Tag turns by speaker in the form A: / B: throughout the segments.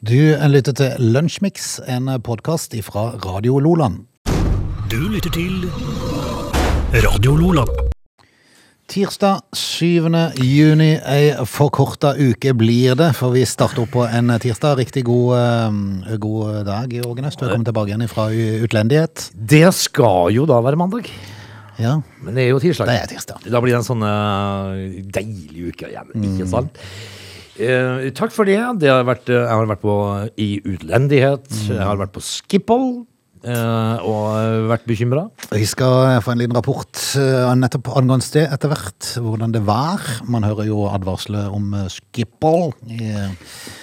A: Du lytter til Lunsjmix, en podkast fra Radio Loland.
B: Du lytter til Radio Lola.
A: Tirsdag 7. juni, ei forkorta uke blir det, for vi starter opp på en tirsdag. Riktig god, eh, god dag, Jørgen Øst. Velkommen tilbake igjen fra utlendighet.
C: Det skal jo da være mandag.
A: Ja,
C: Men det er jo tirsdag.
A: det er tirsdag.
C: Da blir det en sånn eh, deilig uke igjen, ikke sant? Eh, takk for det. det har vært, eh, jeg har vært på i utlendighet. Jeg har vært på Skippol. eh, og vært bekymra.
A: Vi skal få en liten rapport eh, nettopp angående sted etter hvert, hvordan det var. Man hører jo advarsler om eh, skippol i eh,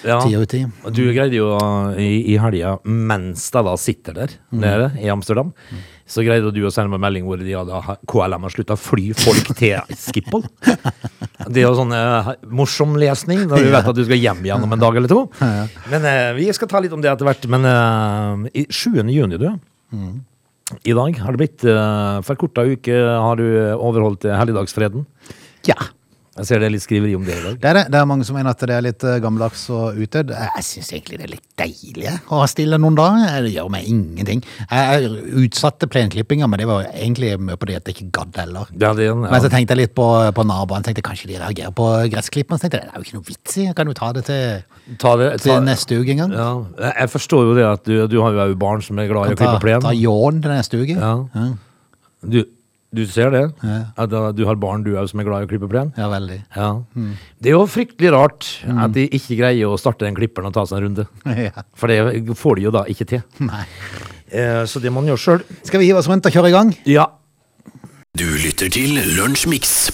C: Ja.
A: ti og ti.
C: Og Du greide jo eh, i, i helga, mens jeg da sitter der nede i Amsterdam, så greide du å sende meg melding hvor de hadde, ha- KLM har slutta å fly folk til Skippol. Det er jo sånn eh, morsom lesning når du vet at du skal hjem igjen om en dag eller to. Men eh, vi skal ta litt om det etter hvert. Men eh, i 7. juni, du. Mm. I dag har det blitt uh, forkorta uke. Har du overholdt eh, helligdagsfreden?
A: Ja.
C: Jeg ser det er litt skriveri om det i dag.
A: Det er, det. det er mange som mener at det er litt eh, gammeldags og utdødd. Jeg jeg syns egentlig det er litt deilig jeg, å ha stille noen dager. Det gjør meg ingenting. Jeg jeg utsatte plenklippinga, men det var egentlig mye på det at jeg ikke gadd heller.
C: Det er det, ja.
A: Men så tenkte jeg litt på, på naboene. Tenkte kanskje de reagerer på gressklipperen. Så tenkte jeg det er jo ikke noe vits i. Jeg kan jo ta det til,
C: Ta det,
A: til
C: ta,
A: neste uke en gang.
C: Ja, jeg- jeg forstår jo det at du, du har jo òg barn som er glad i å
A: Kan ta
C: klippe plen.
A: ta ljåen til neste uke.
C: Ja.
A: Ja.
C: Du, du ser det?
A: Ja.
C: At da, du har barn du òg som er glad i å klippe plen?
A: ja, Mm. veldig.
C: Ja. Det er jo fryktelig rart at de ikke greier å starte den klipperen og ta seg en runde.
A: Ja.
C: For det får de jo da ikke til.
A: Nei.
C: Eh, så det må man gjøre sjøl.
A: Skal vi hive oss rundt og kjøre i gang?
C: Ja.
B: Du lytter til Lunsjmix.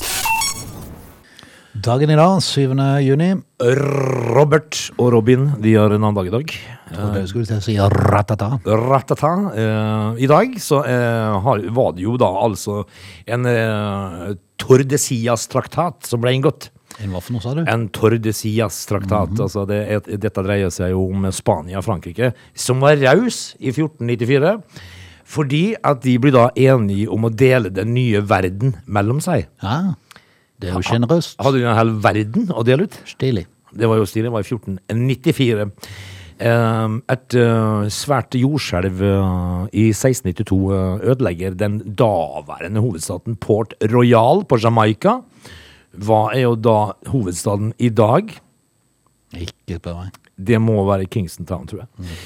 A: Dagen i dag, 7. juni.
C: Robert og Robin de har en annen dag i dag.
A: Trodde jeg skulle til å si ratata.
C: Ratata. Eh, I dag så eh, har, var det jo da altså en eh, Tordesias-traktat som ble inngått.
A: Hva for noe, sa du?
C: En Tordesias-traktat. altså det, er- dette dreier seg jo om Spania og Frankrike, som var raus i 1494. Fordi at de blir da enige om å dele den nye verden mellom seg.
A: Ja, det er jo generøst.
C: Hadde de en hel verden å dele ut?
A: Stilig.
C: Det var jo stilig. Det var i 1494. Eh, Et eh, svært jordskjelv eh, i 1692 eh, ødelegger den daværende hovedstaden Port Royal på Jamaica. Hva er jo da hovedstaden i dag?
A: Ikke spør meg.
C: Det må være Kingston Town, tror jeg.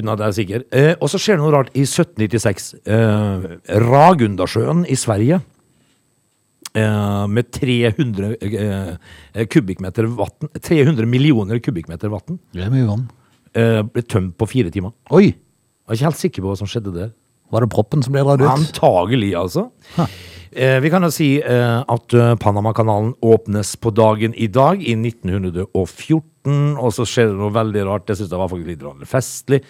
C: Uten at jeg er sikker. Eh, og så skjer det noe rart i 1796. Eh, Ragundasjøen i Sverige, eh, med 300 eh, kubikkmeter vann 300 millioner kubikkmeter vann,
A: Det er mye vann.
C: eh, ble tømt på fire timer.
A: Oi!
C: Jeg er ikke helt sikker på hva som skjedde der.
A: Var det proppen som ble dratt ut?
C: Antagelig, altså.
A: Ha.
C: Eh, vi kan jo si eh, at eh, Panamakanalen åpnes på dagen i dag, i 1914. Og så skjer det noe veldig rart, det syns jeg var faktisk litt rart festlig.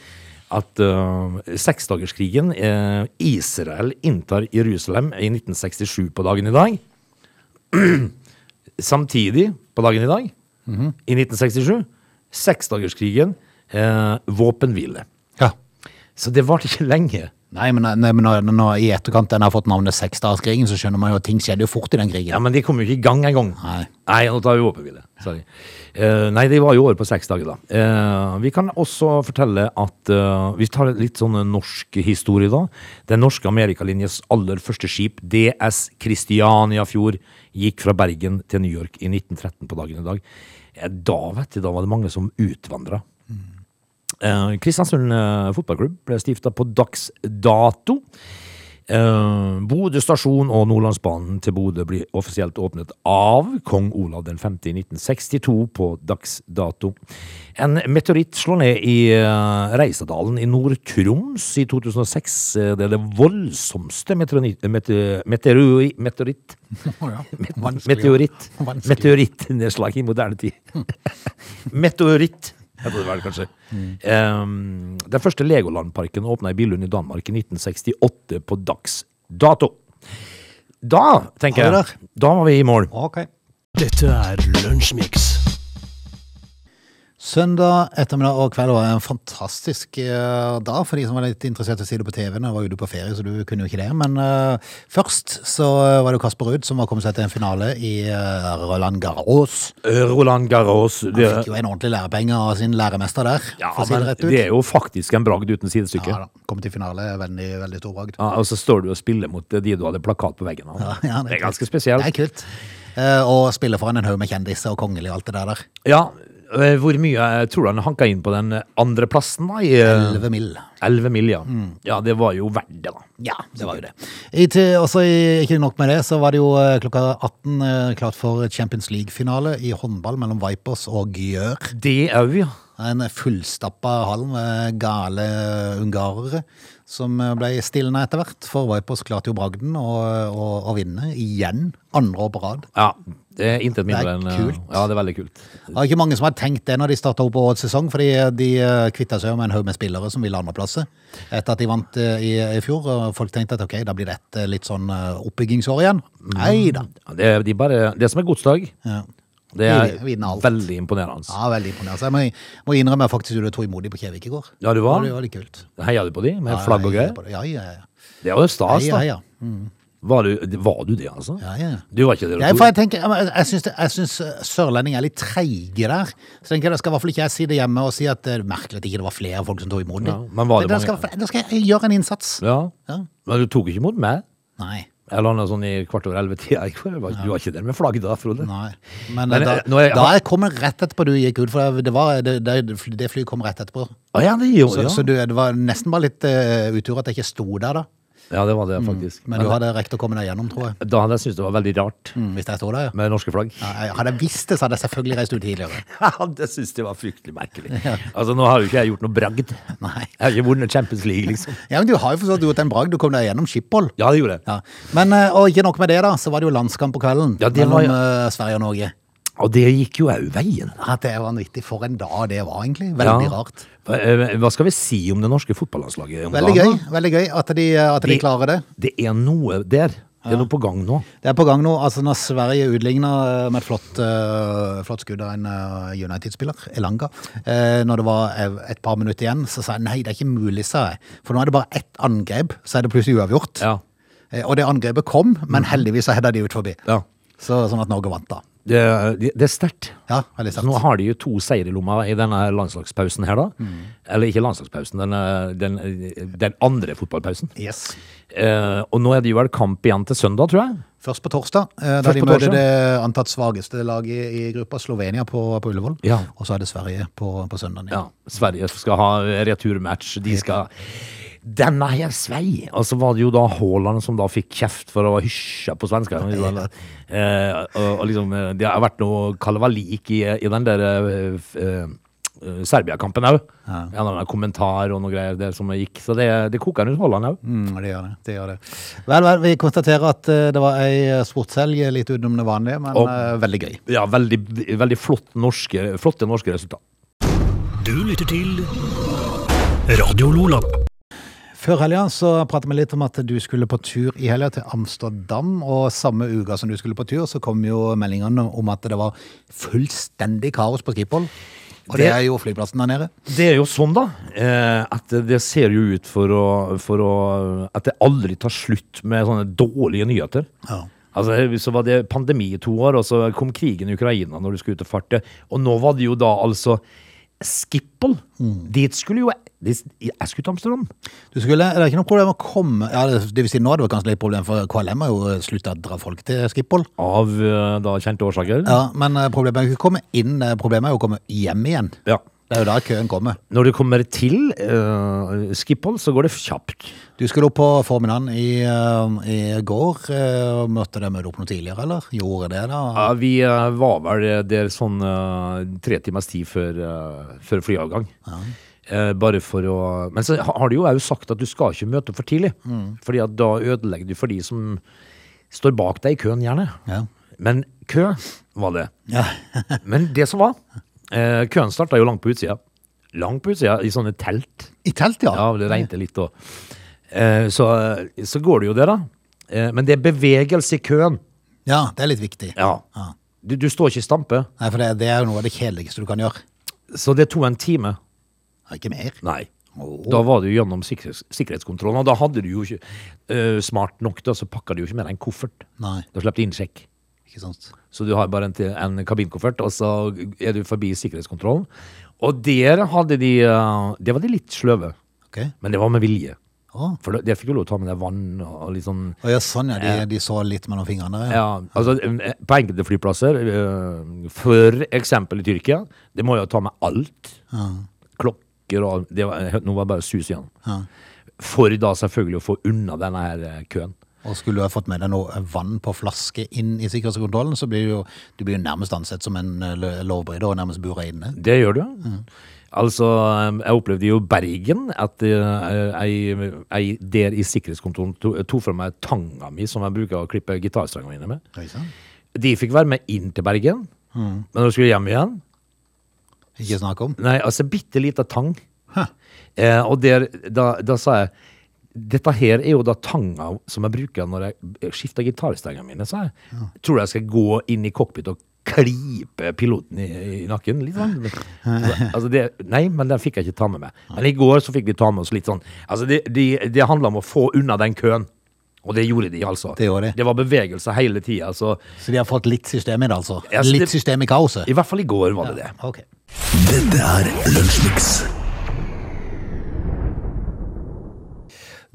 C: At eh, seksdagerskrigen eh, Israel inntar Jerusalem i 1967 på dagen i dag. Samtidig, på dagen i dag, i 1967, seksdagerskrigen, eh, våpenhvile.
A: Ja.
C: Så det varte ikke lenge.
A: Nei, men, nei, men når, når i etterkant den har fått navnet Seksdagerskrigen, så skjønner man jo at ting skjedde jo fort i den krigen.
C: Ja, men de kom jo ikke i gang engang.
A: Nei.
C: Nei, nå tar vi våpenhvile. Sorry. Eh, nei, de var jo over på seks dager, da. Eh, vi kan også fortelle at eh, Vi tar litt sånn norsk historie, da. Den norske Amerikalinjes aller første skip, DS Christianiafjord, gikk fra Bergen til New York i 1913 på dagen i dag. Eh, Da, vet du, da var det mange som utvandra. Eh, Kristiansund eh, fotballklubb ble stifta på dags dato. Eh, Bodø stasjon og Nordlandsbanen til Bodø blir offisielt åpnet av kong Olav den 5. i 1962 på dags dato. En meteoritt slår ned i eh, Reisadalen i Nord-Troms i 2006. Eh, Det er det voldsomste meteoroni- mete- meteoroi- meteoritt
A: Vanskelig.
C: Meteoritt.
A: Vanskelig.
C: Meteorittnedslag i moderne tid. Meteoritt, heter det vel kanskje.
A: Mm.
C: Um, den første Legolandparken åpna i Billund i Danmark i 1968 på dags dato. Da, tenker
A: Har vi
C: jeg, da var vi i mål.
A: Ok.
B: Dette er Lunsjmix.
A: Søndag ettermiddag og kveld var en fantastisk eh, dag for de som var litt interessert i å si det på TV. Jeg var ute på ferie, så du kunne jo ikke det. Men eh, først så eh, var det jo Kasper Ruud som var kommet seg til en finale i eh, Roland Garros.
C: Roland Garros
A: Han
C: det,
A: fikk jo en ordentlig lærepenge av sin læremester der,
C: ja,
A: for å si
C: men
A: det rett ut.
C: det er jo faktisk en bragd uten sidestykke.
A: Ja da, Kom til finale, veldig, veldig stor bragd.
C: Ja, og så står du og spiller mot de du hadde plakat på veggen av.
A: ja,
C: det er
A: kult.
C: ganske spesielt.
A: Det er kult. Eh, og spille foran en haug med kjendiser og kongelig og alt det der der.
C: Ja, eh, Hvor mye eh, tror du han hanka inn på den eh, andre plassen da, i eh,
A: 11 mil.
C: 11 mil? Ja. ja, det var jo verdt det, da.
A: Mm. Ja, det var jo det. I til, også i, ikke nok med det, så var det jo eh, klokka 18 eh, klart for Champions League-finale i håndball mellom Vipers og Gjør.
C: Det òg, ja.
A: En fullstappa hall med gale ungarere som eh, ble stillende etter hvert. For Vipers klarte jo bragden å, å, å vinne igjen, andre år på rad.
C: ja. Det er intet
A: er
C: mindre enn eh,
A: kult.
C: Ja, det er veldig kult.
A: Det er ikke mange som har tenkt det når de starta opp årets sesong, fordi de eh, kvitta seg jo med en haug med spillere som ville andreplasser etter at de vant eh, i, i fjor. Og folk tenkte at ok, da blir det et eh, litt sånn eh, oppbyggingsår igjen. Nei da.
C: Ja, Det, er- de bare, det som er godsdag,
A: Ja.
C: det
A: Vi-
C: er
A: vi vinner alt.
C: veldig imponerende.
A: Ja, veldig imponerende. Så Jeg må, må innrømme jeg faktisk gjorde to imot på Kjevik i går.
C: Ja, du var?
A: Det var litt kult.
C: Heia du på de med
A: Ja,
C: flagg og
A: jeg heier
C: greier?
A: på det. Ja, ja, ja.
C: Det var jo stas,
A: Heia,
C: da.
A: heia.
C: Var du, var du det, altså?
A: Ja, ja.
C: Du var ikke det?
A: Jeg,
C: du-
A: for jeg, tenker, jeg, jeg- jeg, syns det- jeg syns eh, sørlending er litt treige der. Så tenker jeg, da skal i hvert fall ikke jeg si det hjemme og si at det er merkelig at ikke det var flere folk som tok imot det.
C: Ja, men var det
A: da, skal, i
C: mange-
A: hvert fall- da skal jeg gjøre en innsats.
C: Ja.
A: Ja.
C: Men du tok ikke imot meg?
A: Nei.
C: Jeg landa sånn i kvart over elleve-tida i går. Var- Du var ikke der med flagget da, Frode?
A: Nei. Men,
C: Men,
A: eh, da,
C: eh, nå er-
A: da jeg kom rett etterpå du gikk ut, for det, var, det, det, det flyet kom rett etterpå.
C: Å ja, det gjorde
A: Så,
C: ja.
A: så du, det var nesten bare litt eh, utur at jeg ikke sto der, da.
C: ja, det var det faktisk.
A: Mm. Men du hadde rekt å komme deg gjennom, tror jeg.
C: Da hadde jeg syntes det var veldig rart
A: Mm, hvis jeg sto der, ja.
C: med norske flagg.
A: Ja, jeg- Hadde jeg visst det, så hadde jeg selvfølgelig reist ut tidligere.
C: det syntes jeg var fryktelig merkelig. Altså, nå har jo ikke jeg gjort noe bragd.
A: Nei.
C: Jeg har ikke vunnet Champions League, liksom.
A: Ja, men Du har jo forstått gjort en bragd. Du kom deg gjennom Schiphol.
C: Ja, det gjorde jeg.
A: Ja. Men, eh, og ikke nok med det, da, så var det jo landskamp på kvelden
C: Ja, det var
A: mellom
C: jo-
A: eh, Sverige og Norge.
C: Og det gikk jo òg veien.
A: Ja, det var vanvittig. For en dag det var, egentlig. Veldig
C: Ja.
A: rart.
C: Hva, eh, hva skal vi si om det norske fotballandslaget? om
A: Veldig gøy
C: dagen, da?
A: veldig gøy at de, eh, at de
C: Vi-
A: klarer det.
C: Det er noe der. Det er noe på gang nå.
A: Det er på gang nå. altså Når Sverige utligna med et flott, eh, flott skudd av en eh, United-spiller, Elanga, eh, når det var eh, et par minutter igjen, så sa jeg nei, det er ikke mulig, sa jeg. For nå er det bare ett angrep, så er det plutselig uavgjort.
C: Ja. Mhm.
A: Eh, Og det angrepet kom, men heldigvis så hedda de ut forbi.
C: Ja.
A: Så, sånn at Norge vant, da.
C: Det, det, det er sterkt.
A: Ja, veldig
C: Så nå
A: sant.
C: har de jo to seier i lomma i denne her landslagspausen her, da.
A: Mm.
C: Eller ikke landslagspausen, den, eh, den, eh, den andre fotballpausen.
A: Yes.
C: Eh, og nå er det jo vel kamp igjen til søndag, tror jeg.
A: Først på torsdag, eh, da
C: Først
A: de
C: på
A: møter
C: torsdag.
A: det antatt svakeste laget i, i gruppa, Slovenia, på, på Ullevål.
C: Ja.
A: Og så er det Sverige på, på søndag.
C: Ja, Sverige skal ha returmatch. De skal Denne her svei! Og så var det jo da Haaland som da fikk kjeft for å hysje på svenskene. Liksom. Eh, og, og liksom, eh, det har vært noe kalvalik i, i den der eh, f- eh, eh, Serbia-kampen òg. En eller annen kommentar og noe greier der som gikk. Så det, det koker rundt Haaland òg.
A: Mm, det gjør det. det gjør det. Vel, vel, vi konstaterer at eh, det var ei eh, sportshelg litt utenom det vanlige, men
C: Og-
A: eh, veldig gøy.
C: Ja, veldig, veldig flott norske, flotte norske resultat.
B: Du lytter til Radio Lola.
A: Før helga så pratet vi litt om at du skulle på tur i helga til Amsterdam, og samme uka som du skulle på tur, så kom jo meldingene om at det var fullstendig kaos på Schiphol. Og det
C: Det-
A: er jo flyplassen der nede.
C: Det er jo sånn, da, eh, at det ser jo ut for å, for å At det aldri tar slutt med sånne dårlige nyheter.
A: Ja.
C: Altså, Så var det pandemi i to år, og så kom krigen i Ukraina når du skulle ut og farte. Og nå var det jo da altså Skippel.
A: Mm.
C: Dit skulle jo jeg dit- Jeg skulle til Amsterdam.
A: Du skulle, det er ikke noe problem å komme ja, det, det vil si nå hadde det kanskje litt problem, for KLM har jo slutta å dra folk til Schiphol.
C: Av eh, da kjente årsaker.
A: Ja, men eh, problemet er jo ikke å komme inn, eh, problemet er jo å komme hjem igjen.
C: Ja.
A: Det er jo da køen kommer.
C: Når du kommer til eh, Skippel, så går det kjapt.
A: Du skulle opp på formiddagen i, eh, i går. eh, og Møtte dere møte opp noe tidligere, eller? Gjorde det, da?
C: Ja, vi eh, var vel eh, der sånn eh, tre timers tid før, eh, før flyavgang. Eh, bare for å Men så ha- har du jo òg sagt at du skal ikke møte opp for tidlig.
A: Mm.
C: Fordi at da ødelegger du for de som står bak deg i køen, gjerne.
A: Ja.
C: Men kø var det.
A: Ja.
C: Men det som var eh, Køen starta jo langt på utsida. Langt på utsida, i sånne telt.
A: I telt, ja.
C: Ja, det regnet litt òg. Eh, så, så går det jo det, da. Eh, men det er bevegelse i køen.
A: Ja, det er litt viktig.
C: Ja.
A: Ja.
C: Du, du står ikke i stampe.
A: Nei, for det, det er jo noe av det kjedeligste du kan gjøre.
C: Så det tok en time.
A: Nei, Ikke mer.
C: Nei.
A: Åh.
C: Da var du gjennom sikkerhets sikkerhetskontrollen, og da hadde du jo ikke eh, Smart nok, da, så pakka du jo ikke med deg en koffert.
A: Nei.
C: Da slapp du innsjekk.
A: Ikke sant.
C: Så du har bare en, til- en kabinkoffert, og så er du forbi sikkerhetskontrollen. Og der hadde de eh, Der var de litt sløve,
A: Ok.
C: men det var med vilje.
A: Å
C: For da- der fikk du lov å ta med deg vann og litt sånn
A: Å ja, sånn ja. De, de så litt mellom fingrene. Ja.
C: Ja, altså eh, På enkelte flyplasser, eh, for eksempel i Tyrkia, det må jo ta med alt. Klokker og det var, eh, Nå var det bare sus igjen.
A: Ja.
C: For da selvfølgelig å få unna denne her eh, køen.
A: Og skulle du ha fått med deg noe vann på flaske inn i sikkerhetskontrollen, så blir du jo, du blir jo nærmest ansett som en eh, lo- lovbryter og nærmest bura inne.
C: Det gjør du. Altså, eh, jeg opplevde jo Bergen at eh, jeg, jeg der i sikkerhetskontoren to- tok fra meg tanga mi, som jeg bruker å klippe gitarstrengene mine med.
A: Ikke sant?
C: De fikk være med inn til Bergen, men når de skulle hjem igjen
A: Ikke snakk om.
C: Nei, altså bitte lita tang.
A: Hæ.
C: Eh, og der, da, da sa jeg dette her er jo da tanga som jeg bruker når jeg skifter gitarstrengene mine, sa jeg. Tror du jeg skal gå inn i cockpit og klype piloten i, i nakken? Litt sånn. Altså det, nei, men den fikk jeg ikke ta med meg. Men i går så fikk vi ta med oss litt sånn Altså det, det, det handla om å få unna den køen. Og det gjorde de, altså.
A: Det gjorde de.
C: det var bevegelse hele tida, så
A: Så de har fått litt system i det, altså?
C: Ja, så
A: Litt
C: det-
A: system i kaoset?
C: i hvert fall i går var det det.
A: Ok.
B: Dette er Lunsjmix.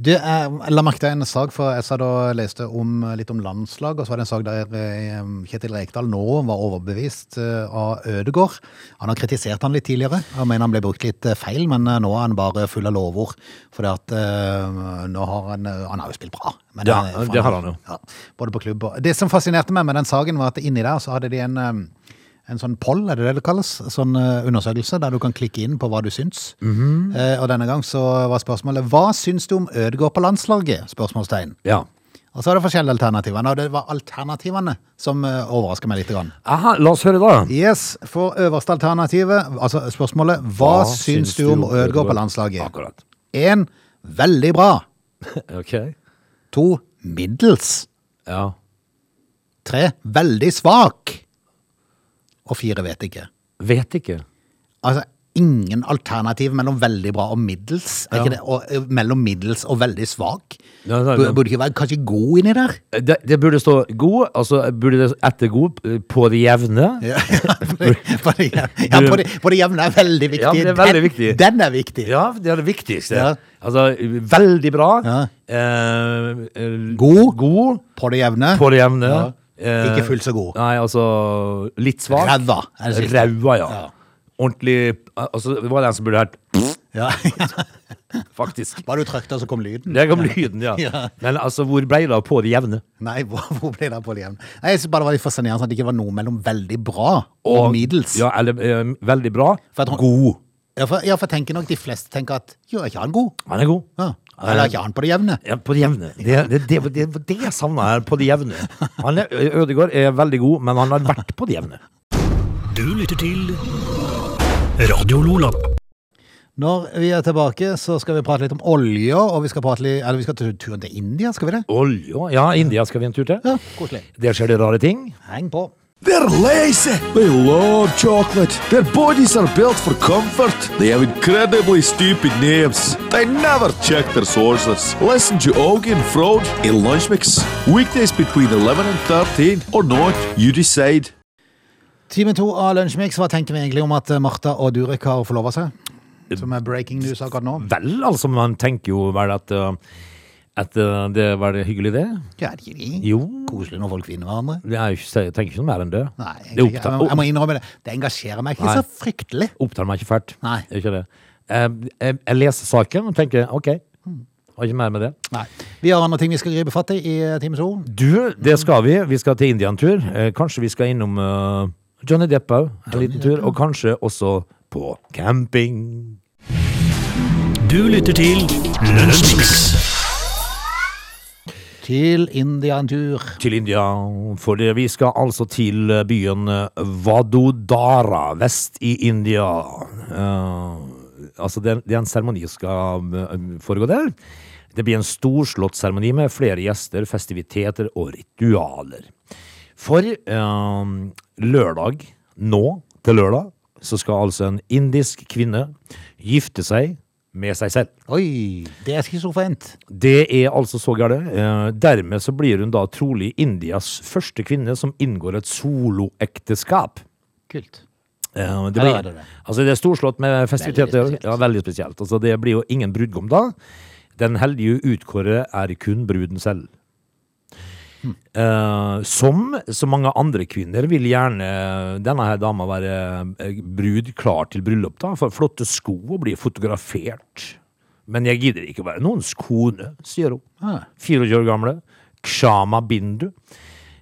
A: Det er, jeg eh, la merke til en sak, for jeg sa da leste om, eh, litt om landslag, og så var det en sak der eh, Kjetil Rekdal nå var overbevist eh, av Ødegård. Han har kritisert han litt tidligere, og mener han ble brukt litt eh, feil, men eh, nå er han bare full av lovord. For at eh, nå har han eh, Han har jo spilt bra. men,
C: Ja,
A: eh,
C: det har han jo.
A: Ja, både på klubb og Det som fascinerte meg med den saken, var at inni der så hadde de en eh, en sånn poll, er det det det kalles? Sånn eh, undersøkelse der du kan klikke inn på hva du syns. Eh, Og denne gang så var spørsmålet Hva syns du om Ødegaard på landslaget? Spørsmålstegn.
C: Ja.
A: Og så er det forskjellige alternativer. Og det var alternativene som eh, overrasker meg litt. Grann.
C: Aha, la oss høre, da.
A: Yes, for øverste alternativet, altså spørsmålet Hva, syns du om Ødegaard på landslaget?
C: Akkurat.
A: Én veldig bra.
C: Ok.
A: To middels.
C: Ja.
A: Tre veldig svak. Og fire vet ikke.
C: Vet ikke.
A: Altså, ingen alternativ mellom veldig bra og middels. Er
C: Ja.
A: ikke det? Og, eh, mellom middels og veldig svak.
C: Ja, det er-
A: Bur- Burde ikke være kanskje god inni der?
C: Det, det burde stå god, altså burde det etter god eh, på det jevne.
A: Ja, ja, på det- på det jevne- ja, på det på det jevne er veldig viktig.
C: Ja, det er veldig viktig.
A: Den, den er viktig.
C: Ja, det er det viktigste.
A: Ja.
C: Altså, veldig bra.
A: Ja.
C: Eh, eh,
A: God.
C: God
A: På det jevne.
C: på det jevne.
A: Ja.
C: Eh,
A: Ikke fullt så god.
C: Nei, altså litt svak.
A: Ræva, er det siste.
C: Ræva, ja.
A: Ja.
C: Ordentlig Altså, det var den som burde hørt,
A: Ja.
C: faktisk.
A: Bare du trykte, så kom lyden.
C: Der kom lyden, ja.
A: Ja.
C: Men altså, hvor ble det av på det jevne?
A: Nei, hvor, hvor ble det av på det jevne? Nei, jeg synes bare det var litt fascinerende at det ikke var noe mellom veldig bra og, middels.
C: Ja, eller eh, veldig bra.
A: For jeg tror-
C: God.
A: Ja, for, ja, for jeg tenker nok de fleste tenker at jo, er ikke han god?
C: Han er god.
A: Ja. Eller er ikke han på det jevne?
C: Ja, på det jevne. Det er det, det, det, det, det jeg savna her, på det jevne. Han er, Ødegaard er veldig god, men han har vært på det jevne.
B: Du lytter til Radio Lola.
A: Når vi er tilbake, så skal vi prate litt om olje, og vi skal, prate litt, eller vi skal til turen til India, skal vi det?
C: Olja Ja, India skal vi en tur til.
A: Ja, koselig.
C: Der skjer det rare ting.
A: Heng på.
D: They're lazy. They love chocolate. Their bodies are built for comfort. They have incredibly stupid names. They never check their sources. Listen to Augie and Frode in Lunch Mix. Weekdays between 11 and 13 or not, you decide.
A: Time to av Lunsjmix. Hva tenker vi egentlig om at eh, Martha og Durek har forlova seg? Som er breaking news akkurat nå.
C: Vel, altså, man tenker jo vel at uh, at uh, det var det hyggelig, det.
A: Ja, det er ikke de.
C: Jo.
A: Koselig når folk finner hverandre.
C: Det er jo ikke, jeg tenker ikke noe mer enn det.
A: Nei, egentlig ikke.
C: det
A: jeg, må- jeg
C: opptar,
A: må innrømme det. Det engasjerer meg ikke
C: Nei.
A: så fryktelig.
C: opptar meg ikke fælt.
A: Nei.
C: Det er Ikke det. Jeg, jeg, jeg leser saken og tenker OK, har ikke mer med det.
A: Nei. Vi har andre ting vi skal gripe fatt i i eh, Time to.
C: Du, det skal vi. Vi skal til India en tur. Eh, kanskje vi skal innom eh, Johnny Depp òg, en liten tur. Og kanskje også på camping.
B: Du lytter til Lunsjmix.
A: Til India en tur.
C: Til India, for det- vi skal altså til eh, byen eh, Vadodara vest i India. Eh, altså, det, er- det er en seremoni som skal eh, foregå der. Det blir en storslått seremoni med flere gjester, festiviteter og ritualer. For eh, lørdag, nå til lørdag, så skal altså en indisk kvinne gifte seg med seg selv.
A: Oi, det er schizofrent.
C: Det er altså så gale. Eh, dermed så blir hun da trolig Indias første kvinne som inngår et soloekteskap.
A: Kult.
C: Eh, det,
A: Ja,
C: blir,
A: da er det det.
C: Altså, det er storslått med festiviteter.
A: Veldig spesielt.
C: Ja, veldig spesielt. Altså, det blir jo ingen brudgom da. Den heldige utkårede er kun bruden selv.
A: Hm.
C: Eh, som så mange andre kvinner vil gjerne denne her dama være eh, brud klar til bryllup, da. For flotte sko og bli fotografert. Men jeg gidder ikke å være noens kone, sier hun.
A: Ah.
C: 24 år gamle. Kshama Bindu.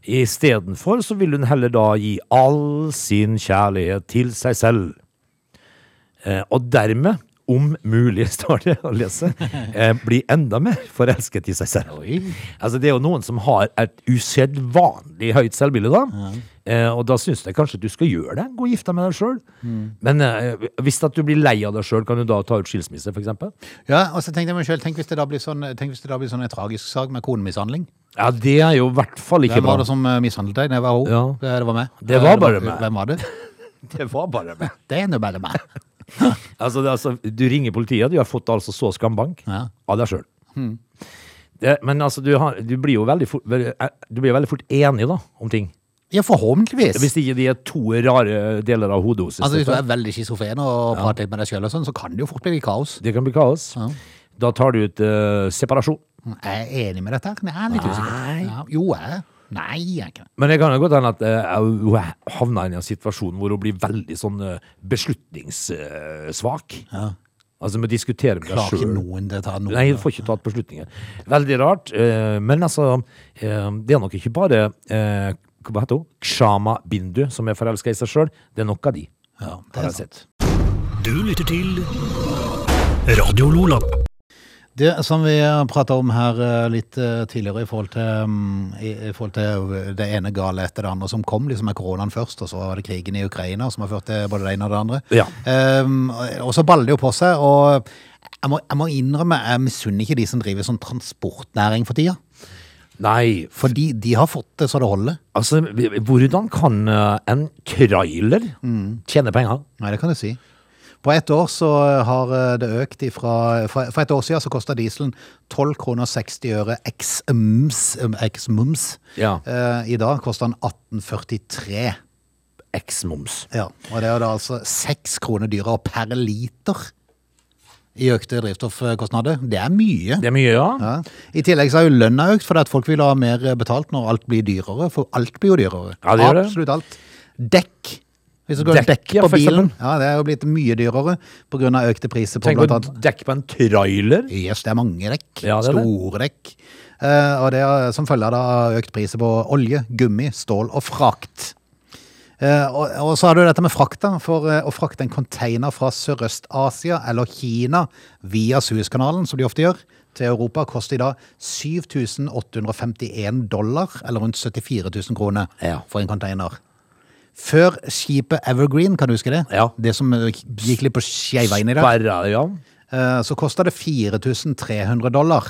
C: Istedenfor så vil hun heller da gi all sin kjærlighet til seg selv. Eh, og dermed, om mulig, står det å lese, eh, bli enda mer forelsket i seg selv.
A: Oi.
C: Altså, det er jo noen som har et usedvanlig høyt selvbilde, da. Eh, og da syns jeg kanskje at du skal gjøre det. Gå og gifte deg med deg sjøl.
A: Mm.
C: Men eh, hvis at du blir lei av deg sjøl, kan du da ta ut skilsmisse, f.eks.?
A: Ja, og så tenkte jeg meg selv, tenk hvis det da blir sånn, tenk hvis det da blir sånn en tragisk sak med konemishandling.
C: Ja, det er jo i hvert fall ikke
A: Hvem var
C: bra.
A: det som eh, mishandlet deg? Det var hun.
C: Ja.
A: Eh, Det var meg.
C: Det var bare
A: Eh,
C: meg.
A: Hvem var det?
C: Det var bare meg.
A: Det er nå bare meg.
C: Altså, det, er altså, du ringer politiet, du har fått altså så skambank
A: Ja. Mm.
C: av deg sjøl. Men altså, du, har, du blir jo veldig fort, vel- eh, du blir veldig fort enig da, om ting.
A: Ja, forhåpentligvis.
C: Hvis ikke de er to rare deler av hodet hos
A: Altså, hvis du er veldig schizofren og prater litt med deg sjøl, sånn, så kan det jo fort bli kaos.
C: Det kan bli kaos.
A: Ja.
C: Da tar du ut eh, separasjon.
A: Jeg er enig med dette. her. Nei, jeg er litt usikker.
C: Nei.
A: Ja, jo, jeg. Nei, jeg er ikke det.
C: Men det kan jo godt hende at eh, hun havna i en situasjon hvor hun blir veldig sånn eh, beslutningssvak. Altså, må diskutere med deg
A: Klarer ikke
C: sjøl.
A: noen til å ta noen.
C: Nei, du får ikke tatt beslutninger. Veldig rart. eh, Men altså, eh, det er nok ikke bare eh, Hva heter hun? Kshama Bindu, som er forelska i seg sjøl. Det er nok av de.
A: Ja, det
C: har
A: er
C: jeg
A: sant.
C: sett.
B: Du lytter til Radio Lola.
A: Det som vi prata om her eh, litt eh, tidligere i forhold, til, mm, i, i forhold til eh, det ene gale etter det andre som kom, liksom med koronaen først, og så var det krigen i Ukraina som har ført til både det ene og det andre.
C: Ja.
A: Ehm, og så baller det jo på seg, og jeg må, jeg må innrømme, jeg misunner ikke de som driver sånn transportnæring for tida.
C: Nei,
A: Fordi de har fått det så det holder.
C: altså Hvordan kan eh, en trailer
A: Mm.
C: tjene penger?
A: Nei, det kan du si. På ett år så har eh, det økt ifra For for et år siden så kosta dieselen 12 kroner 60 øre ex mums. um, Ex mums.
C: Ja.
A: Eh, I dag koster den 18,43.
C: Eksmoms.
A: Ja, og det er da altså 6 kroner dyrere per liter i økte drivstoffkostnader. Det er mye.
C: Det er mye, ja.
A: Ja. I tillegg så har jo lønna økt, fordi at folk vil ha mer betalt når alt blir dyrere. For alt blir jo dyrere.
C: Ja, det gjør det.
A: Absolutt alt. Dekk. Hvis du går
C: Dekk,
A: dekk,
C: ja,
A: på
C: for
A: bilen.
C: eksempel.
A: Ja, det er jo blitt mye dyrere pga. økte priser på
C: Tenk
A: blant
C: å
A: annet
C: dekke på en trailer.
A: Yes, det er mange dekk.
C: Ja, det er det.
A: Store dekk. Eh, og det er som følger da av økt priser på olje, gummi, stål og frakt. Eh, og, og så har du dette med frakt, da. For eh, å frakte en container fra Sørøst-Asia eller Kina via Suezkanalen, som de ofte gjør, til Europa, koster i dag 7851 dollar, eller rundt 74 000 kroner,
C: Ja.
A: for en container. Før skipet Evergreen, kan du huske det?
C: Ja.
A: Det som eh, gikk litt på skeiveien i dag.
C: Sperra, ja.
A: Eh, så kosta det 4300 dollar.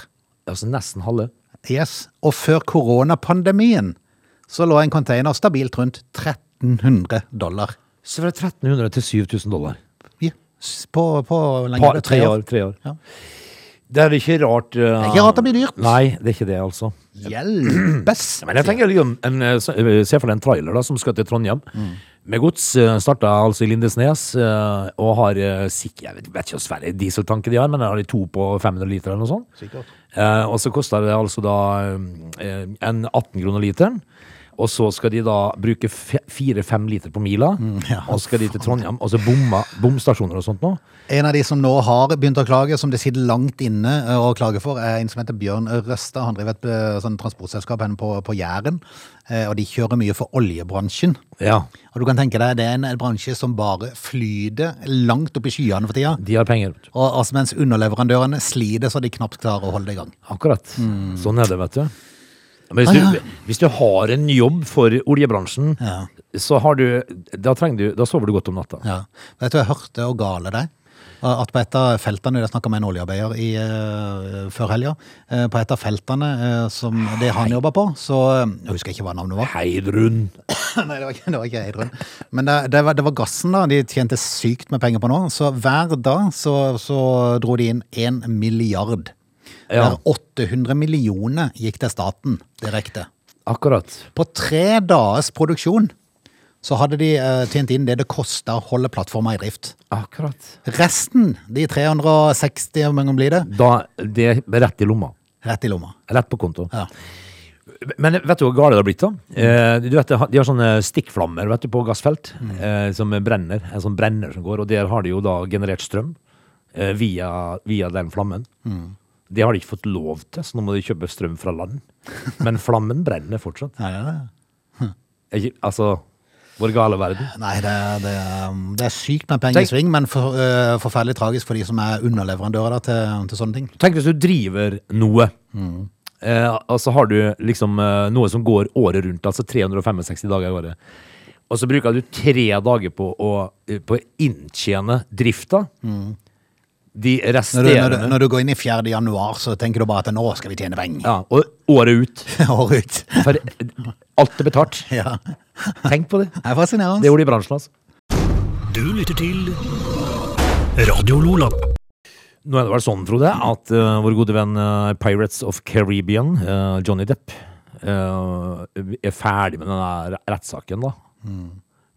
C: Altså nesten halve.
A: Yes. Og før koronapandemien så lå en container stabilt rundt 1300 dollar.
C: Så fra 1300 til 7000 dollar.
A: Ja. s- På, på lenge
C: Par,
A: det er
C: tre år. Tre år.
A: Ja.
C: Det er ikke rart Det er
A: ikke rart det blir dyrt.
C: Nei, det er ikke det, altså.
A: Hjelpes!
C: Men jeg tenker liksom en, eh, se eh, se for deg en trailer da, som skal til Trondheim. Med gods eh, starta altså i Lindesnes eh, og har eh, sikk- jeg vet, vet ikke hvor svære dieseltanker de har, men de har de to på 500 liter eller noe sånt.
A: Sikkert.
C: Eh, og så koster det altså da eh, en 18 kroner literen. Og så skal de da bruke fe- fire-fem liter på mila, og så skal de til Trondheim, og så bomma, bomstasjoner og sånt nå.
A: En av de som nå har begynt å klage, som det sitter langt inne eh, å klage for, er en som heter Bjørn Røsta. Han driver et eh, sånn transportselskap henne på, på Jæren, eh, og de kjører mye for oljebransjen.
C: Ja,
A: Og du kan tenke deg, det er en bransje som bare flyter langt opp i skyene for tida.
C: de har penger. vet du.
A: Og altså mens underleverandørene sliter så de knapt klarer å holde det i gang.
C: Akkurat. Sånn er det, vet du. Men hvis,
A: Mm. Ah, ja.
C: du, hvis du har en jobb for oljebransjen,
A: Ja.
C: så har du da, trenger du da sover du godt om natta.
A: Ja. Vet du, jeg hørte og gale deg. At på et av feltene, jeg snakket med en oljearbeider i, eh, før helga, eh, på et av feltene eh, som det han jobber på, så eh, jeg husker ikke hva navnet var.
C: Heidrun.
A: Nei, det var ikke, det var ikke Heidrun. Men det, det, var, det var gassen da, de tjente sykt med penger på nå. Så hver dag så, så dro de inn en milliard.
C: Ja.
A: Der 800 millioner gikk til staten direkte.
C: Akkurat.
A: På tre dagers produksjon så hadde de eh, tjent inn det det kosta å holde plattforma i drift.
C: Akkurat.
A: Resten, de 360, hvor mange blir det,
C: Da, det er rett i lomma.
A: rett i lomma.
C: Rett på konto.
A: Ja.
C: Men vet du hvor gale det har blitt, da? Eh, du vet, De har sånne stikkflammer vet du, på gassfelt eh, som brenner. En sånn brenner som går, og der har de jo da generert strøm eh, via, via den flammen. Det har de ikke fått lov til, så nå må de kjøpe strøm fra land. Men flammen brenner fortsatt.
A: Ja, ja, ja.
C: Er ikke- Altså, vår gale verden.
A: Nei, det, er- det, er- det er sykt med penger i
C: Tenk-
A: sving, men for, eh, forferdelig tragisk for de som er underleverandører da, til, til sånne ting.
C: Tenk hvis du driver noe, eh, og så har du liksom eh, noe som går året rundt, altså 365 dager i året. Og så bruker du tre dager på å, eh, på å inntjene drifta. De
A: Når du, når, du,
C: resterende
A: når du går inn i 4. januar, så tenker du bare at nå skal vi tjene penger.
C: ja, Og året ut.
A: År ut.
C: For eh, alt er betalt.
A: Ja.
C: Tenk på det.
A: Det er fascinerende.
C: Det gjorde de i bransjen, altså.
B: Du lytter til Radio Lola.
C: Nå er det vel sånn, Frode, at eh, vår gode venn eh, Pirates of Caribbean, eh, Johnny Depp, eh, er ferdig med denne rettssaken, da.
A: Mm.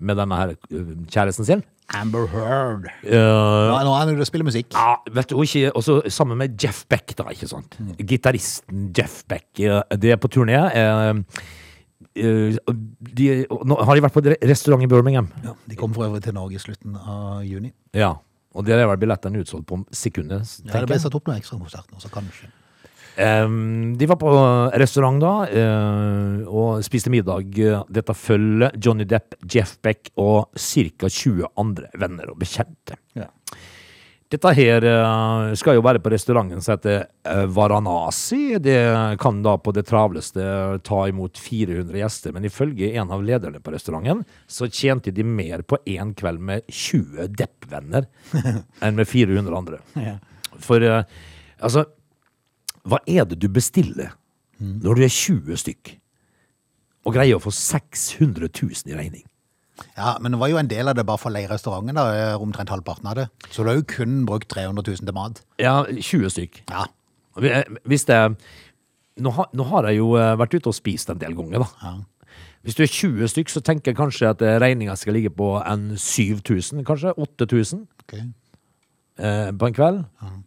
C: Med denne her eh, kjæresten sin.
A: Amber Heard.
C: Eh,
A: Nå, nå er det du spiller musikk.
C: ja, vet du, og ikke, også sammen med Jeff Beck, da, ikke sant?
A: Mm.
C: Gitaristen Jeff Beck. eh, Det er på turné. eh, eh, de, nå har de vært på en restaurant i Birmingham.
A: Ja, de kom for øvrig til Norge i slutten av juni.
C: Ja. Og der er vel billettene utsolgt på sekundet.
A: Ja, det
C: tenker jeg.
A: ble satt opp noen ekstrakonsert nå, så kanskje.
C: Ehm, de var på restaurant da, eh, og spiste middag. Dette følger Johnny Depp, Jeff Beck og ca. 20 andre venner og bekjente. Dette her eh, skal jo være på restauranten som heter eh, Varanasi. Det kan da på det travleste ta imot 400 gjester, men ifølge en av lederne på restauranten, så tjente de mer på én kveld med 20 Depp-venner enn med 400 andre. For eh, altså hva er det du bestiller når du er 20 stykk og greier å få 600 000 i regning?
A: Ja, men det var jo en del av det bare for å leie restauranten, da, eh, omtrent halvparten av det. Så du har jo kun brukt 300 000 til mat.
C: Ja, 20 stykk. eh,
A: Ja.
C: Hvis det nå, har- nå har jeg jo eh, vært ute og spist en del ganger, da. Hvis du er 20 stykk, så tenker jeg kanskje at regninga skal ligge på en 7000, kanskje 8000
A: ok.
C: eh, på en kveld.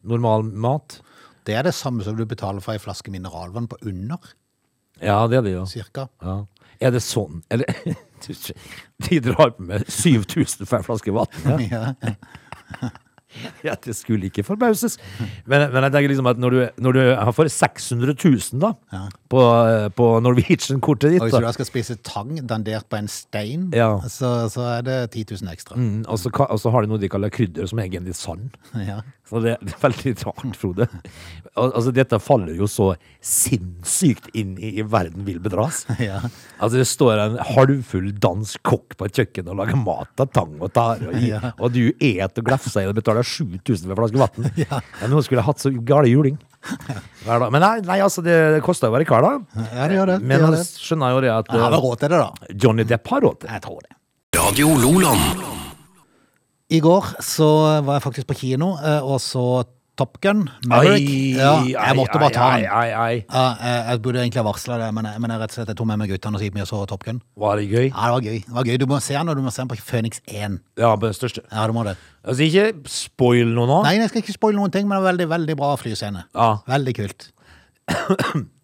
C: Normal mat.
A: Det er det samme som du betaler for ei flaske mineralvann på under,
C: Ja, det er det jo.
A: cirka.
C: Ja. Er det sånn? Eller De drar med 7000 for ei flaske vann. Ja.
A: Ja.
C: Ja, det skulle ikke forbauses. Men, men jeg tenker liksom at når du, når du har for 600 000 da, på, på Norwegian-kortet
A: Og
C: ditt,
A: hvis du da
C: da,
A: skal spise tang dandert på en stein,
C: Ja.
A: så, så er det 10 000 ekstra.
C: Mm, og, så, ka- og så har de noe de kaller krydder, som er egentlig sand.
A: Ja.
C: Så det, det er veldig rart, Frode. Al altså, dette faller jo så sinnssykt inn i, i verden vil bedras.
A: Ja.
C: Altså, det står en halvfull dansk kokk på et kjøkken og lager mat av tang og tare, og, i,
A: Ja.
C: og du et og glefser i og betaler 7000 for en flaske vann. Ja. Noen skulle hatt så gale juling. Hver dag. Men nei, nei, altså, det koster jo å være kar, da.
A: Ja, det gjør det.
C: Eh, Men
A: det,
C: han
A: gjør det.
C: skjønner jo det at
A: Jeg har
C: eh,
A: vel råd til det, da.
C: Johnny Depp har råd til det.
A: Jeg tror det.
B: Radio Loland.
A: I går så var jeg faktisk på kino, eh, og så Top Gun. Maverick. Ja, jeg måtte bare ta den.
C: Ai, ai, ai.
A: Ja, jeg, jeg burde egentlig ha varsla det, men, jeg- men jeg, rett og slett, jeg tok med meg guttene og så gikk vi og så Top Gun.
C: Var det gøy?
A: Ja, det var gøy. Det var gøy. Du må se den, og du må se den på Phoenix 1.
C: Ja, på den største.
A: Ja, du må det.
C: Altså, ikke spoil noe nå.
A: Nei, jeg skal ikke spoile noen ting, men det er veldig, veldig bra flyscene.
C: Ja.
A: Veldig kult.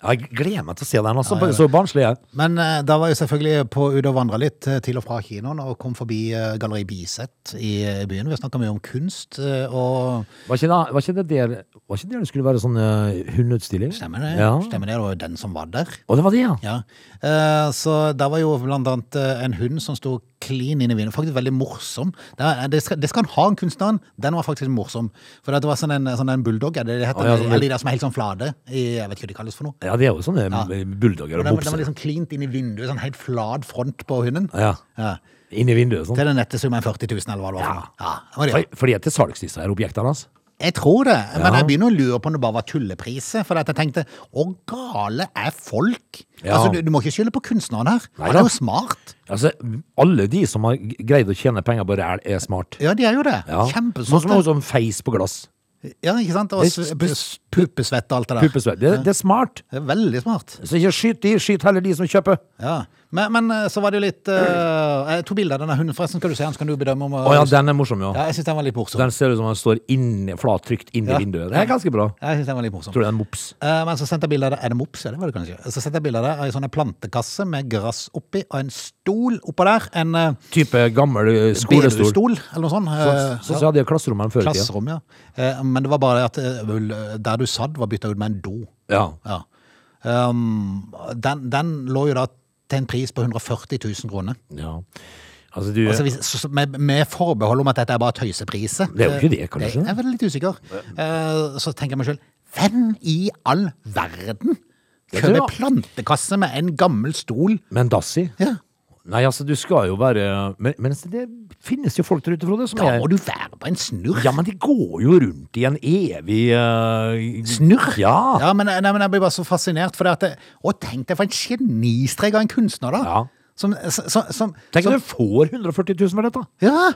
C: Jeg gleder meg til å se den, altså. Så barnslig er jeg.
A: Men eh, da var jeg selvfølgelig på ute og vandra litt eh, til og fra kinoen, og kom forbi eh, Galleri Biset i eh, byen. Vi snakka mye om kunst, eh, og
C: Var ikke det var ikke det der Var ikke det det skulle være sånn uh, hundutstilling?
A: Stemmer det?
C: Ja.
A: Stemmer det, det var jo den som var der.
C: Og det var det, ja.
A: Ja, eh, så der var jo blant annet eh, en hund som sto klin inn i vinduet. Faktisk veldig morsom. Det, er- det, skal, det skal han ha, en kunstneren. Den var faktisk morsom. For det var sånn en, sånn en bulldog, er det det heter?
C: Å, ja, sånn-
A: Eller de der som er helt sånn flate. i- Jeg vet ikke hva de kalles for noe.
C: Ja, det er jo sånne ja. bulldogger
A: Den,
C: og
A: den var
C: bobser.
A: liksom klint inn i vinduet, sånn helt flat front på hunden.
C: Ja.
A: Ja.
C: Inn i vinduet og sånn.
A: Til den nette summen 40 000, eller hva det var. for noe. Ja, det var det.
C: For- Fordi at det er til salgs, disse her objektene hans.
A: Jeg tror det, men
C: Ja.
A: jeg begynner å lure på om det bare var tullepriser. For at jeg tenkte å, gale er folk?
C: Ja.
A: Altså, du, du må ikke skylde på kunstneren her. Han
C: Neida.
A: er jo smart.
C: Altså, alle de som har g- greid å tjene penger på ræl, er smart.
A: Ja, de er jo det.
C: Ja. Sånn som
A: Kjempesmarte.
C: hun som feis på glass.
A: Ja, ikke sant? Og
C: Det-
A: sve- pus- puppesvett og alt det der.
C: Puppesvett. Det, det er smart.
A: Det er veldig smart.
C: Så ikke skyt de, skyt heller de som kjøper.
A: Ja. Men, men eh, så var det jo litt eh, Jeg tok bilde av denne hunden, forresten. Skal du se den, så kan du bedømme om eh,
C: Å ja, den er morsom, ja.
A: Ja, jeg syns den var litt morsom.
C: Den ser ut som den står inni, flat trygt inn i
A: Ja.
C: vinduet. Det er ganske bra.
A: Jeg synes den var litt morsom.
C: Tror du det er en mops?
A: Eh, Men så sendte jeg bilde av det. Er det mops? Ja, det var det kanskje. Så sendte jeg bilde av det av ei sånn plantekasse med gress oppi, og en stol oppå der. En eh,
C: Type gammel eh, skolestol.
A: bedustol, eller noe sånt. Eh,
C: Sånn som hadde klasserommene før i tida.
A: Klasserom, ja. Eh, Men det var bare at eh, vel, eh, der du satt, var bytta ut med en do.
C: Ja.
A: Ja. Um, den, den lå jo da til en pris på 140 000 kroner.
C: ja. Altså, du
A: Altså hvis, så- så- med, med forbehold om at dette er bare tøysepriser.
C: Det er jo ikke det,
A: Eh,
C: kanskje?
A: Jeg er veldig litt usikker. Eh, Så tenker jeg meg sjøl, hvem i all verden
C: Jeg tror
A: kjøper plantekasse med en gammel stol?
C: Men Dassi?
A: Ja.
C: Nei, altså, du skal jo være Men, men altså, det finnes jo folk der ute, Frode, som
A: Da må
C: er
A: du være på en snurr.
C: Ja, men de går jo rundt i en evig eh,
A: Snurr?
C: Ja.
A: Ja, men, nei, men jeg blir bare så fascinert. For det at det, å, tenk deg for en genistrek av en kunstner, da.
C: Ja.
A: Som, som, som,
C: Tenk
A: som
C: at du får 140 000 for dette.
A: Ja!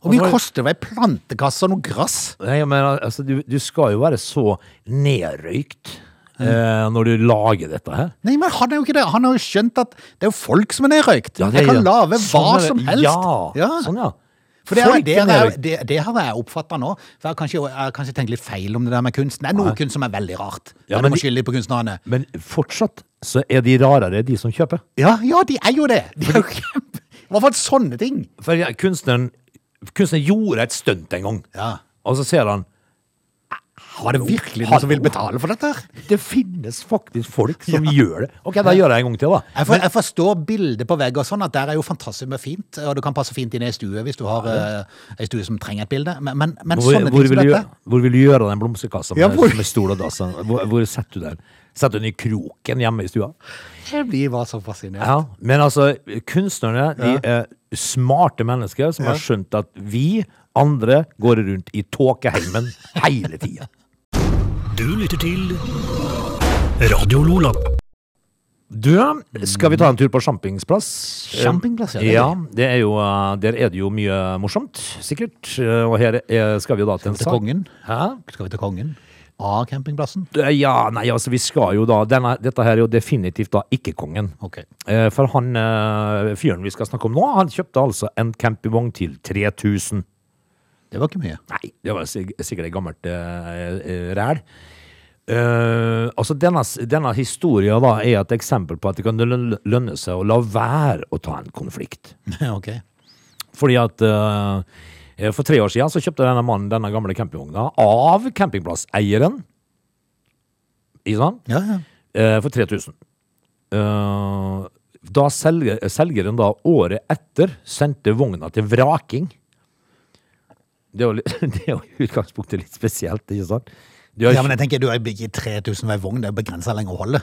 A: Og mye
C: Altså-
A: koster vel ei plantekasse og noe gress?
C: Nei, men altså, du, du skal jo være så nedrøykt eh, når du lager dette her.
A: Nei, men han er jo ikke det. Han har jo skjønt at det er jo folk som er nedrøykt.
C: Ja, det
A: jeg
C: er-
A: kan lage hva
C: Sånn er det.
A: som helst.
C: Ja, sånn ja.
A: For det, er,
C: Folk
A: det,
C: er
A: er,
C: nedrøykt.
A: det, det har jeg oppfatta nå. For jeg har kanskje, jeg har kanskje tenkt litt feil om det der med kunst. Det er noe kunst som er veldig rart.
C: Ja,
A: Ja,
C: men
A: du må
C: de-
A: skylde litt på kunstnerne.
C: Men fortsatt så er de rarere, de som kjøper.
A: Ja, ja, de er jo det. De er jo kjempe... I hvert fall sånne ting.
C: For ja, kunstneren, kunstneren gjorde et stunt en gang.
A: Ja.
C: Og så ser han
A: Var det virkelig noen som vil betale for dette? her?
C: Det finnes faktisk folk som gjør det. Ok, da gjør jeg en gang til, da.
A: Jeg, for, jeg forstår bildet på vegg og sånn, at der er jo fantastisk mye fint. Og det kan passe fint inn i ei stue hvis du har eh, ei stue som trenger et bilde. Men, men, men
C: Hvor,
A: sånne
C: hvor,
A: ting som
C: vil du,
A: dette
C: gjøre- hvor vil du gjøre av den blomsterkassa med,
A: Ja, hvor-
C: med stol og dass? Hvor, hvor setter du den? Setter du den i kroken hjemme i stua?
A: Jeg blir bare så fascinert.
C: Ja, men altså, kunstnerne de er smarte mennesker som har skjønt at vi andre går rundt i tåkeheimen hele tida.
B: Du lytter til Radio Lola.
C: Du, skal vi ta en tur på Champingsplass?
A: Campingplass, ja, det er
C: ja. Det er jo, eh, der er det jo mye morsomt, sikkert. Eh, Og her er, skal vi jo da til en
A: Til
C: sak.
A: kongen.
C: Hæ?
A: Skal vi til kongen? Av campingplassen?
C: Eh, Ja, nei, altså vi skal jo da denne, Dette her er jo definitivt da ikke kongen.
A: Ok.
C: Eh, For han eh, fyren vi skal snakke om nå, han kjøpte altså en campingvogn til 3000.
A: Det var ikke mye.
C: Nei, det var sik- sikkert et gammelt eh, eh, ræl. Eh, altså denne, s- denne historien da er et eksempel på at det kan løn- lønne seg å la være å ta en konflikt.
A: ok.
C: Fordi at eh, for tre år siden så kjøpte denne mannen denne gamle campingvogna av campingplasseieren. Ikke sant?
A: Ja, ja.
C: Eh, for 3000. Eh, da selger, selgeren da året etter sendte vogna til vraking. Det er jo, litt- det er jo i utgangspunktet litt spesielt, ikke sant? Du har
A: ja, men jeg tenker, du er ikke 3000 hver vogn, det er begrensa lenger å holde.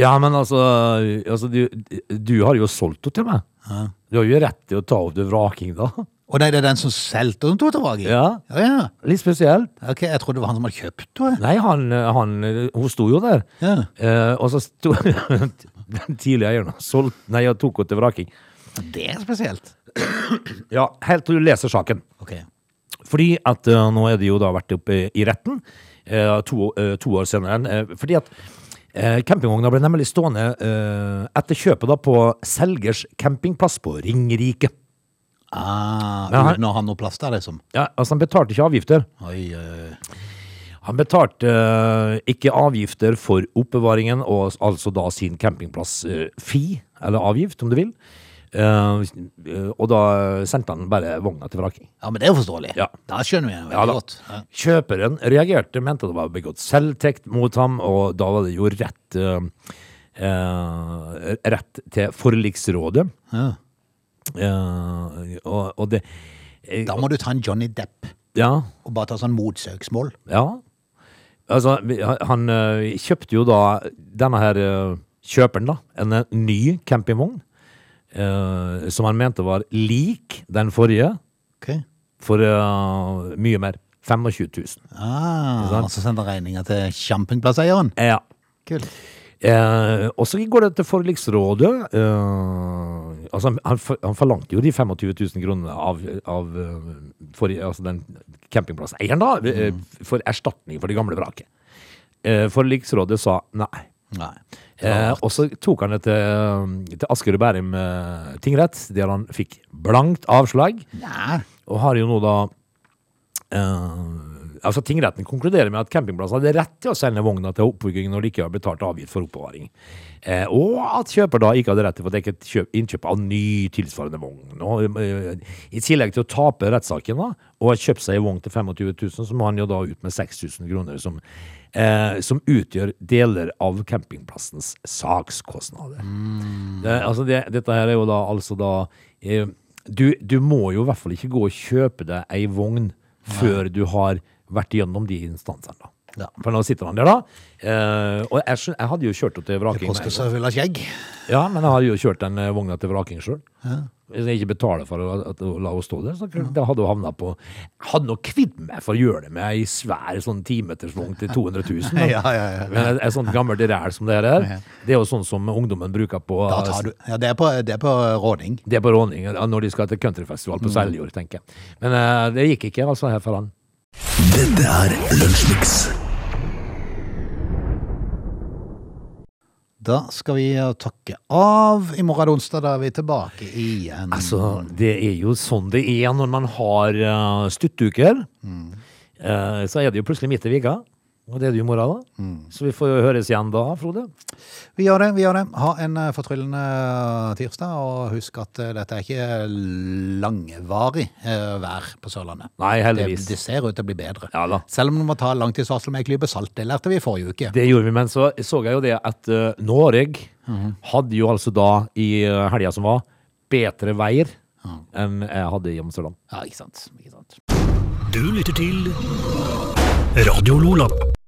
C: Ja, men altså, altså du, du har jo solgt henne til meg. Du har jo rett til å ta opp til vraking, da.
A: Og det er den som solgte den totovergen?
C: Ja.
A: ja. ja.
C: Litt spesielt.
A: Ok, jeg trodde det var han som hadde kjøpt den.
C: Nei, han, han Hun sto jo der.
A: Ja.
C: Eh, og så sto den tidlige eieren og solgte Nei, jeg tok henne til vraking.
A: Det er spesielt.
C: Ja, helt til du leser saken.
A: Ok.
C: Fordi at eh, nå er det jo da vært oppe i- i retten eh, to, eh, to år senere. eh, fordi at uh, campingvogna ble nemlig stående eh, etter kjøpet da på selgers campingplass på Ringerike.
A: Ah,
C: Ja, her-
A: uten å ha noe plass der, liksom.
C: Ja, altså Han betalte ikke avgifter.
A: Oi, oi, oi.
C: Han betalte eh, ikke avgifter for oppbevaringen, og s- altså da sin campingplass-fi, eller eh, avgift, om du vil. Eh, eh, og da sendte han bare vogna til vraking.
A: Ja, men det er jo forståelig.
C: Ja.
A: Da skjønner vi det veldig
C: Ja da.
A: godt. Ja.
C: Kjøperen reagerte, mente det var begått selvtekt mot ham, og da var det jo rett eh, eh, Rett til forliksrådet.
A: Ja.
C: Eh, og, og det eh,
A: Da må du ta en Johnny Depp
C: Ja.
A: og bare ta sånn motsøksmål.
C: Ja. Altså, vi- han ø, kjøpte jo da denne her ø, kjøperen, da. En ø, ny campingvogn. ø, som han mente var lik den forrige,
A: Ok.
C: for ø, mye mer. 25 000.
A: Ah,
C: sant?
A: og så sender regninga til campingplasseieren.
C: Ja.
A: Kult.
C: Eh, og så går det til forliksrådet. eh, altså han- han, for- han forlangte jo de 25 000 kronene av, av eh, for, altså den campingplasseieren, da, eh, for erstatning for det gamle vraket. Eh, forliksrådet sa nei.
A: Nei.
C: Eh, og så tok han det til, til Asker og Bærum eh, tingrett, der han fikk blankt avslag.
A: Nei.
C: Og har jo nå da eh, Altså Tingretten konkluderer med at campingplassen hadde rett til å sende vogna til oppbygging når de ikke har betalt avgift for oppbevaring. Eh, og at kjøper da ikke hadde rett til å få dekket kjøp, innkjøp av ny tilsvarende vogn. Og, eh, I tillegg til å tape rettssaken da, og ha kjøpt seg en vogn til 25 000, så må han jo da ut med 6000 kroner, som, eh, som utgjør deler av campingplassens sakskostnader. Det, altså det, dette her er jo da altså da eh, du, du må jo i hvert fall ikke gå og kjøpe deg ei vogn før du har vært gjennom de instansene. da.
A: Ja.
C: For nå sitter han der, da. Eh, og jeg, skjøn- jeg hadde jo kjørt opp til
A: Det
C: vraking.
A: koster så full av skjegg.
C: Ja, men jeg hadde jo kjørt den eh, vogna til vraking sjøl. Hvis jeg ikke betaler for å, at, å la henne stå der, så kunne- da hadde hun havna på Jeg hadde nok kvidd meg for å gjøre det med ei svær sånn timetersvogn til 200 000. da.
A: Ja, ja, ja.
C: Men et, et sånt gammelt ræl som det her er, det er jo sånn som ungdommen bruker på eh,
A: Da tar du Ja, det er på, det er på eh, råding.
C: det er på råning ja, når de skal til countryfestival på Seljord, tenker jeg. Men eh, det gikk ikke, altså, her for han.
B: Dette er Lunsjmix.
A: Da skal vi eh, takke av. I morgen er det onsdag, da er vi tilbake igjen.
C: Altså, det er jo sånn det er når man har eh, stuttuker. Eh, så er det jo plutselig midt i vika, og det er det jo i morgen, da. Så vi får jo høres igjen da, Frode.
A: Vi gjør det, vi gjør det. Ha en eh, fortryllende eh, tirsdag, og husk at eh, dette er ikke langvarig eh, vær på Sørlandet.
C: Nei,
A: Det,
C: heldigvis.
A: det ser ut til å bli bedre.
C: Ja da.
A: Selv om man må ta langtidsvarsel med en klype salt, det lærte vi i forrige uke.
C: Det gjorde vi, men så så jeg jo det at eh, Norge hadde jo altså da, i eh, helga som var, bedre veier enn jeg hadde i Amsterdam.
A: Ja, ikke sant. Ikke sant.
B: Du lytter til Radio Lola.